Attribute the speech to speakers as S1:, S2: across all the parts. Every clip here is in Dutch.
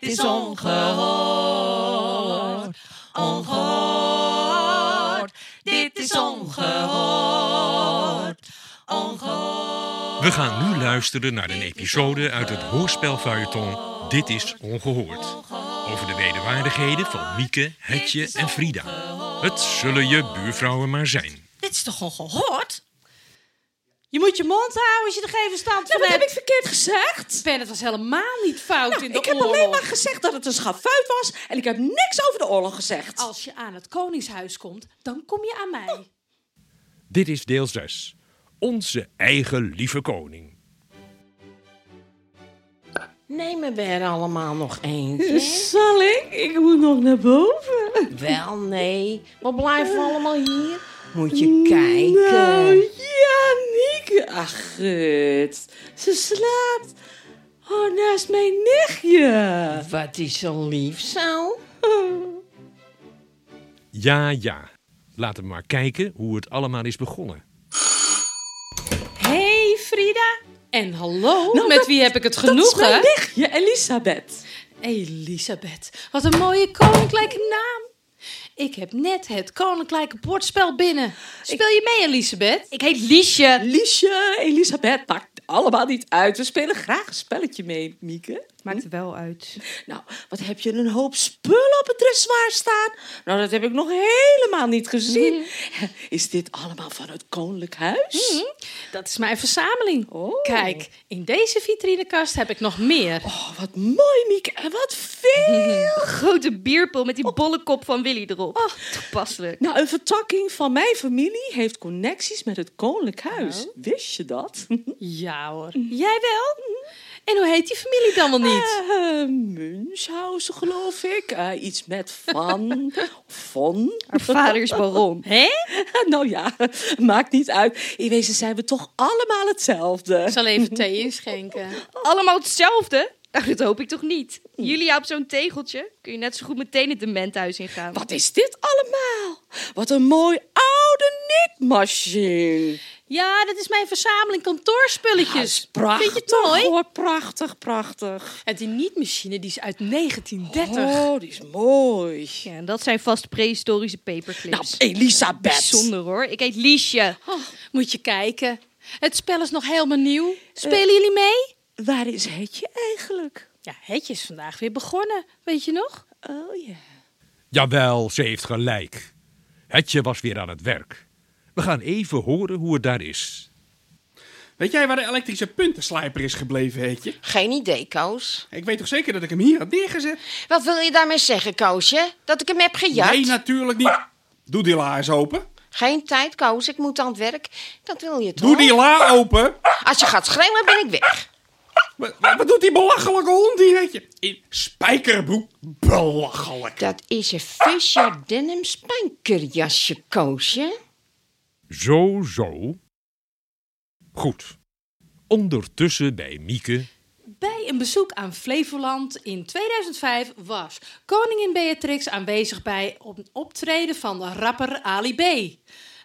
S1: is ongehoord. Ongehoord. Dit is ongehoord. Ongehoord.
S2: We gaan nu luisteren naar een episode uit het hoorspelfeuilleton Dit is Ongehoord. Over de wederwaardigheden van Mieke, Hetje en Frida. Het zullen je buurvrouwen maar zijn.
S1: Dit is toch ongehoord?
S3: Je moet je mond houden als je er geen verstand
S4: Ja,
S3: van
S4: wat heb
S3: hebt.
S4: ik verkeerd gezegd?
S3: Ben, het was helemaal niet fout
S4: Nou,
S3: in de
S4: ik heb
S3: oorlog.
S4: alleen maar gezegd dat het een schafuit was en ik heb niks over de oorlog gezegd.
S3: Als je aan het koningshuis komt, dan kom je aan mij.
S2: Dit is deel 6. Onze eigen lieve koning.
S5: Neem me weer allemaal nog eentje.
S4: Zal ik? Ik moet nog naar boven.
S5: Wel, nee. We blijven allemaal hier. Moet je kijken.
S4: Nou, ja, Nieke. Ach, gut. Ze slaapt. Oh, naast mijn nichtje.
S5: Wat is zo lief zo?
S2: Ja, ja. Laten we maar kijken hoe het allemaal is begonnen.
S3: hey, Frida. En hallo,
S4: Nou,
S3: met
S4: dat-
S3: wie heb ik het
S4: Dat is mijn
S3: genoegen?
S4: nichtje, Elisabeth.
S3: Elisabeth, wat een mooie koninklijke naam. Ik heb net het koninklijke bordspel binnen. Speel je mee, Elisabeth?
S1: Ik heet Liesje.
S4: Liesje, Elisabeth, maakt allemaal niet uit. We spelen graag een spelletje mee, Mieke.
S6: Maakt het wel uit.
S4: Nou, wat heb je een hoop spullen op het dressoir staan? Nou, dat heb ik nog helemaal niet gezien. Is dit allemaal van het Koninklijk Huis?
S3: Dat is mijn verzameling.
S4: Oh.
S3: Kijk, in deze vitrinekast heb ik nog meer.
S4: Oh, wat mooi, Mieke. En wat veel.
S6: Grote bierpul met die
S5: Oh.
S6: bolle kop van Willy erop. toepasselijk.
S4: Nou, een vertakking van mijn familie heeft connecties met het Koninklijk Huis. Wist je dat?
S3: Ja hoor.
S6: Mm-hmm.
S3: Jij wel? En hoe heet die familie dan wel
S6: Ah.
S3: niet?
S4: Eh, Münchhausen, geloof ik. Eh, iets met van. Von.
S6: Haar vader is baron.
S3: Hé?
S4: nou ja, maakt niet uit. In wezen zijn we toch allemaal hetzelfde.
S3: Ik zal even thee inschenken. Mm.
S6: Allemaal hetzelfde? Nou, dat hoop ik toch niet. Julia op zo'n tegeltje kun je net zo goed meteen het dementhuis ingaan.
S4: Wat is dit allemaal? Wat een mooi oude knitmachine.
S3: Ja, dat is mijn verzameling kantoorspulletjes.
S4: Prachtig
S3: Vind je het mooi?
S4: hoor, prachtig, prachtig.
S3: En die nietmachine die is uit
S6: Oh.
S3: 1930.
S4: Oh, die is mooi.
S6: Ja, en dat zijn vast prehistorische
S4: Nou,
S6: paperclips.
S4: Elisabeth.
S6: Bijzonder hoor. Ik heet Liesje.
S3: Oh, Moet je kijken. Het spel is nog helemaal
S6: Eh.
S3: nieuw. Spelen jullie mee?
S4: Waar is Hetje eigenlijk?
S3: Ja, Hetje is vandaag weer begonnen. Weet je nog?
S4: Oh ja.
S2: Jawel, ze heeft gelijk. Hetje was weer aan het werk. We gaan even horen hoe het daar is.
S7: Weet jij waar de elektrische puntenslijper is gebleven, heetje?
S5: Geen idee, Koos.
S7: Ik weet toch zeker dat ik hem hier had neergezet?
S5: Wat wil je daarmee zeggen, Koosje? Dat ik hem heb gejat?
S7: Nee, natuurlijk niet. Doe die la eens open.
S5: Geen tijd, Koos. Ik moet aan het werk. Dat wil je toch?
S7: Doe die la open.
S5: Als je gaat schreeuwen, ben ik weg.
S7: Wat, wat- wat doet die belachelijke hond hier, heetje? In spijkerbroek. Belachelijk.
S5: Dat is een Fischer denim spijkerjasje, Koosje.
S2: Zo, zo. Goed. Ondertussen bij Mieke.
S3: Bij een bezoek aan Flevoland in 2005 was koningin Beatrix aanwezig bij een optreden van de rapper Ali B.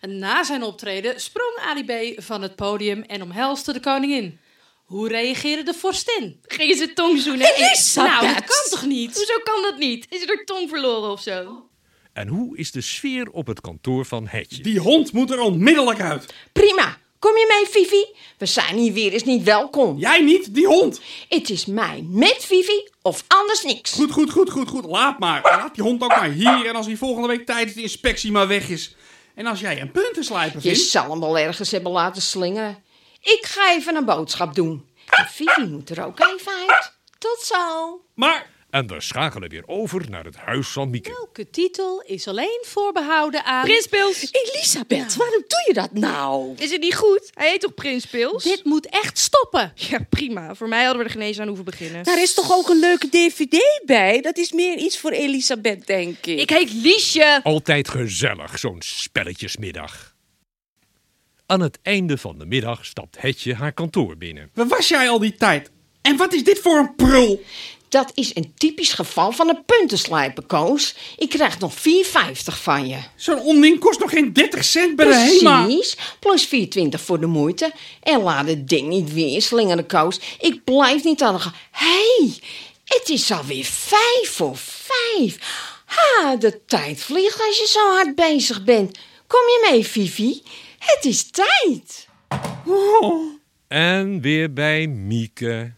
S3: Na zijn optreden sprong Ali B van het podium en omhelste de koningin. Hoe reageerde de vorstin?
S6: Gingen ze tong zoenen?
S4: Elisabeth!
S6: Nou,
S3: Nou, dat kan toch niet?
S6: hoezo kan dat niet? Is er tong verloren of zo?
S2: En hoe is de sfeer op het kantoor van Hetje?
S7: Die hond moet er onmiddellijk uit.
S5: Prima. Kom je mee, Vivi? We zijn hier weer eens niet welkom.
S7: Jij niet, die hond.
S5: Het is mij met Vivi of anders niks.
S7: Goed, goed, goed, goed, goed. Laat maar. Laat die hond ook maar hier. En als hij volgende week tijdens de inspectie maar weg is. En als jij een puntenslijper
S5: Je
S7: vindt...
S5: zal hem wel ergens hebben laten slingeren. Ik ga even een boodschap doen. En Vivi moet er ook even uit. Tot zo.
S7: Maar
S2: En we schakelen weer over naar het huis van Mieke.
S3: Welke titel is alleen voorbehouden aan...
S6: Prins Pils.
S4: Elisabeth, waarom doe je dat nou?
S6: Is het niet goed? Hij heet toch Prins Pils?
S3: Dit moet echt stoppen.
S6: Ja, prima. Voor mij hadden we er geen eens aan hoeven beginnen.
S4: Daar is toch ook een leuke dvd bij? Dat is meer iets voor Elisabeth, denk ik.
S6: Ik heet Liesje.
S2: Altijd gezellig, zo'n spelletjesmiddag. Aan het einde van de middag stapt Hetje haar kantoor binnen.
S7: waar was jij al die tijd? En wat is dit voor een prul?
S5: Dat is een typisch geval van een puntenslijper, Koos. Ik krijg nog 4,50 van je.
S7: Zo'n onding kost nog geen 30 cent bij de HEMA.
S5: Precies. Plus 4,20 voor de moeite. En laat het ding niet weer slingeren, Koos. Ik blijf niet aan de gang. Hé, hey, Het is alweer vijf voor vijf. Ha, de tijd vliegt als je zo hard bezig bent. Kom je mee, Vivi? Het is tijd.
S2: En weer bij Mieke.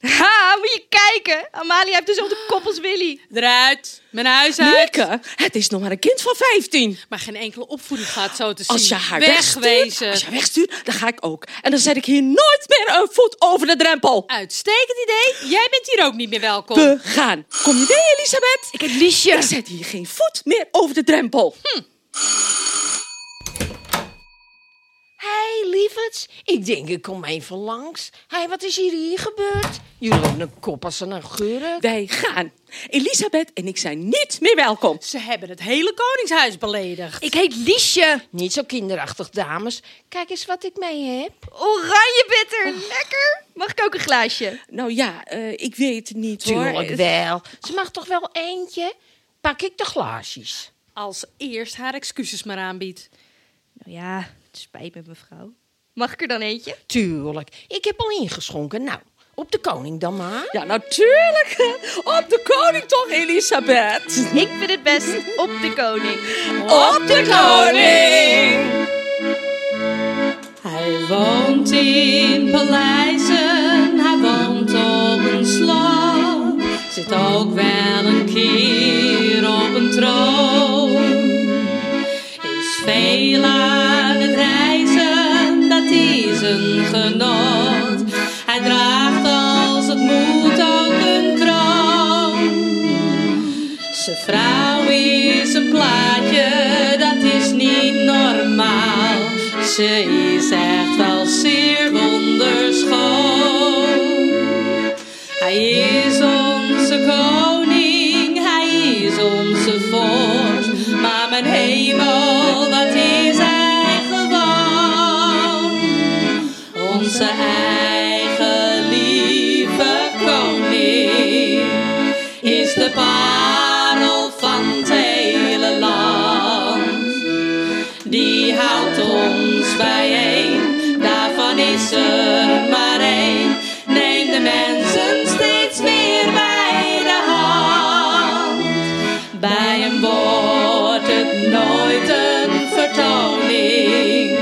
S6: Ha, moet je kijken. Amalia heeft dezelfde kop als Willy.
S3: Eruit, mijn huis uit.
S4: Mieke, het is nog maar een kind van 15.
S3: Maar geen enkele opvoeding gaat zo te zien.
S4: Als je haar wegstuurt,
S3: Wegwezen.
S4: als je haar wegstuurt, dan ga ik ook. En dan zet ik hier nooit meer een voet over de drempel.
S3: Uitstekend idee. Jij bent hier ook niet meer welkom.
S4: We gaan. Kom je mee, Elisabeth? Ik heb Liesje. Dan zet hier geen voet meer over de drempel. Hm.
S5: Hé, hey, lieverds. Ik denk, ik kom even langs. Hé, hey, wat is hier, hier gebeurd? Jullie hebben een kop als een augurk.
S4: Wij gaan. Elisabeth en ik zijn niet meer welkom.
S3: Ze hebben het hele koningshuis beledigd.
S6: Ik heet Liesje.
S5: Niet zo kinderachtig, dames. Kijk eens wat ik mee heb.
S6: Oranje bitter. Lekker. Mag ik ook een glaasje?
S4: Nou ja, eh, ik weet niet hoor.
S5: Tuurlijk wel. Ze mag toch wel eentje? Pak ik de glaasjes.
S3: Als eerst haar excuses maar aanbiedt.
S6: Nou ja, het spijt me mevrouw. Mag ik er dan eentje?
S5: Tuurlijk. Ik heb al ingeschonken. Nou, op de koning dan maar.
S4: Ja, natuurlijk. Op de koning toch, Elisabeth?
S6: Ik vind het best op de koning.
S4: Op de koning.
S1: Hij woont in paleizen, hij woont op een slot. Zit ook wel een keer op een troon. Is veel aan het reizen, dat is een genot. Hij draagt als het moet ook een kroon. Zijn vrouw is een plaatje, dat is niet normaal. Ze is echt wel zeer wonderschoon. Hij is onze koning, hij is onze vorst. Maar mijn hemel, wat is hij gewoon? Onze eigen lieve koning is de parel van het hele land. Die houdt ons bijeen, daarvan is er maar één. Neem de mensen steeds meer bij de hand. Bij hem wordt het nooit een vertoning.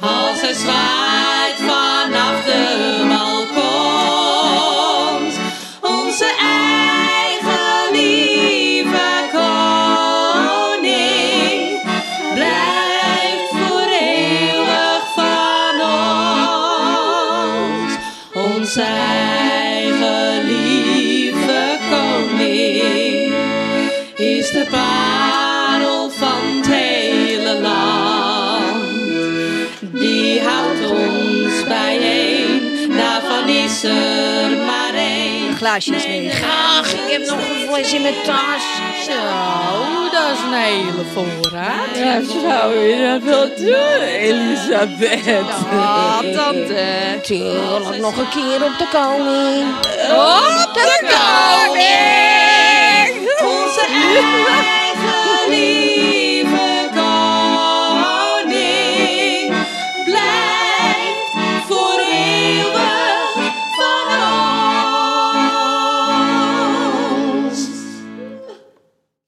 S1: Als hij zwaait vanaf de balkons. Onze eigen lieve koning blijft voor eeuwig van ons. Onze eigen lieve koning is de parel van het hele land. Die houdt ons bijeen, daarvan is er maar één.
S6: Glaasje is leeg.
S5: Ach, ik heb nog een fles in mijn tas. Zo.
S3: Oh, dat is een hele voorraad.
S4: Ja, zou je dat wel doen, Elisabeth?
S6: Ah, tante.
S5: Tuurlijk, nog een keer op de koning.
S6: Op de koning!
S1: Onze eigen lieve koning blijft voor eeuwig van ons.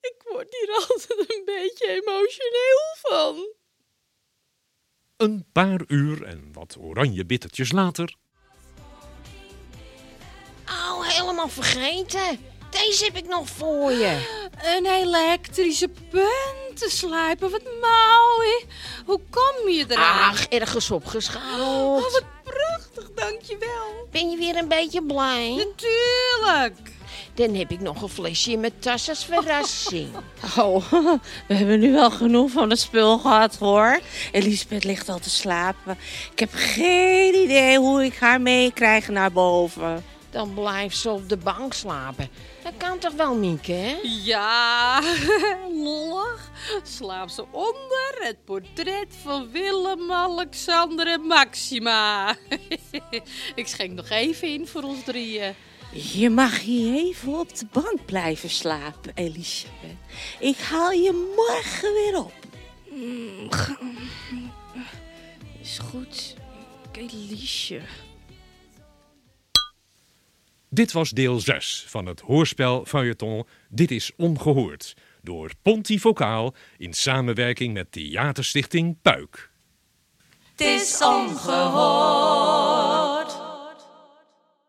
S6: Ik word hier altijd een beetje emotioneel van.
S2: Een paar uur en wat oranje bittertjes later.
S5: Oh, helemaal vergeten. Deze heb ik nog voor je.
S3: Een elektrische puntenslijper. Wat mooi. Hoe kom je eraan?
S5: Ach, ergens opgeschouwd.
S3: Oh, wat prachtig. Dankjewel.
S5: Ben je weer een beetje blij?
S3: Natuurlijk.
S5: Dan heb ik nog een flesje in mijn tas als verrassing.
S4: Oh, we hebben nu wel genoeg van het spul gehad hoor. Elisabeth ligt al te slapen. Ik heb geen idee hoe ik haar meekrijg naar boven.
S5: Dan blijft ze op de bank slapen. Dat kan toch wel, Mieke, hè?
S3: Ja, lollig. Slaap ze onder het portret van Willem, Alexander en Maxima. Ik schenk nog even in voor ons drieën.
S4: Je mag hier even op de bank blijven slapen, Elisabeth. Ik haal je morgen weer op.
S6: Is goed. Oké, Liesje.
S2: Dit was deel 6 van het hoorspel feuilleton Dit is Ongehoord. Door Pontifocaal in samenwerking met Theaterstichting Puik.
S1: Het is ongehoord.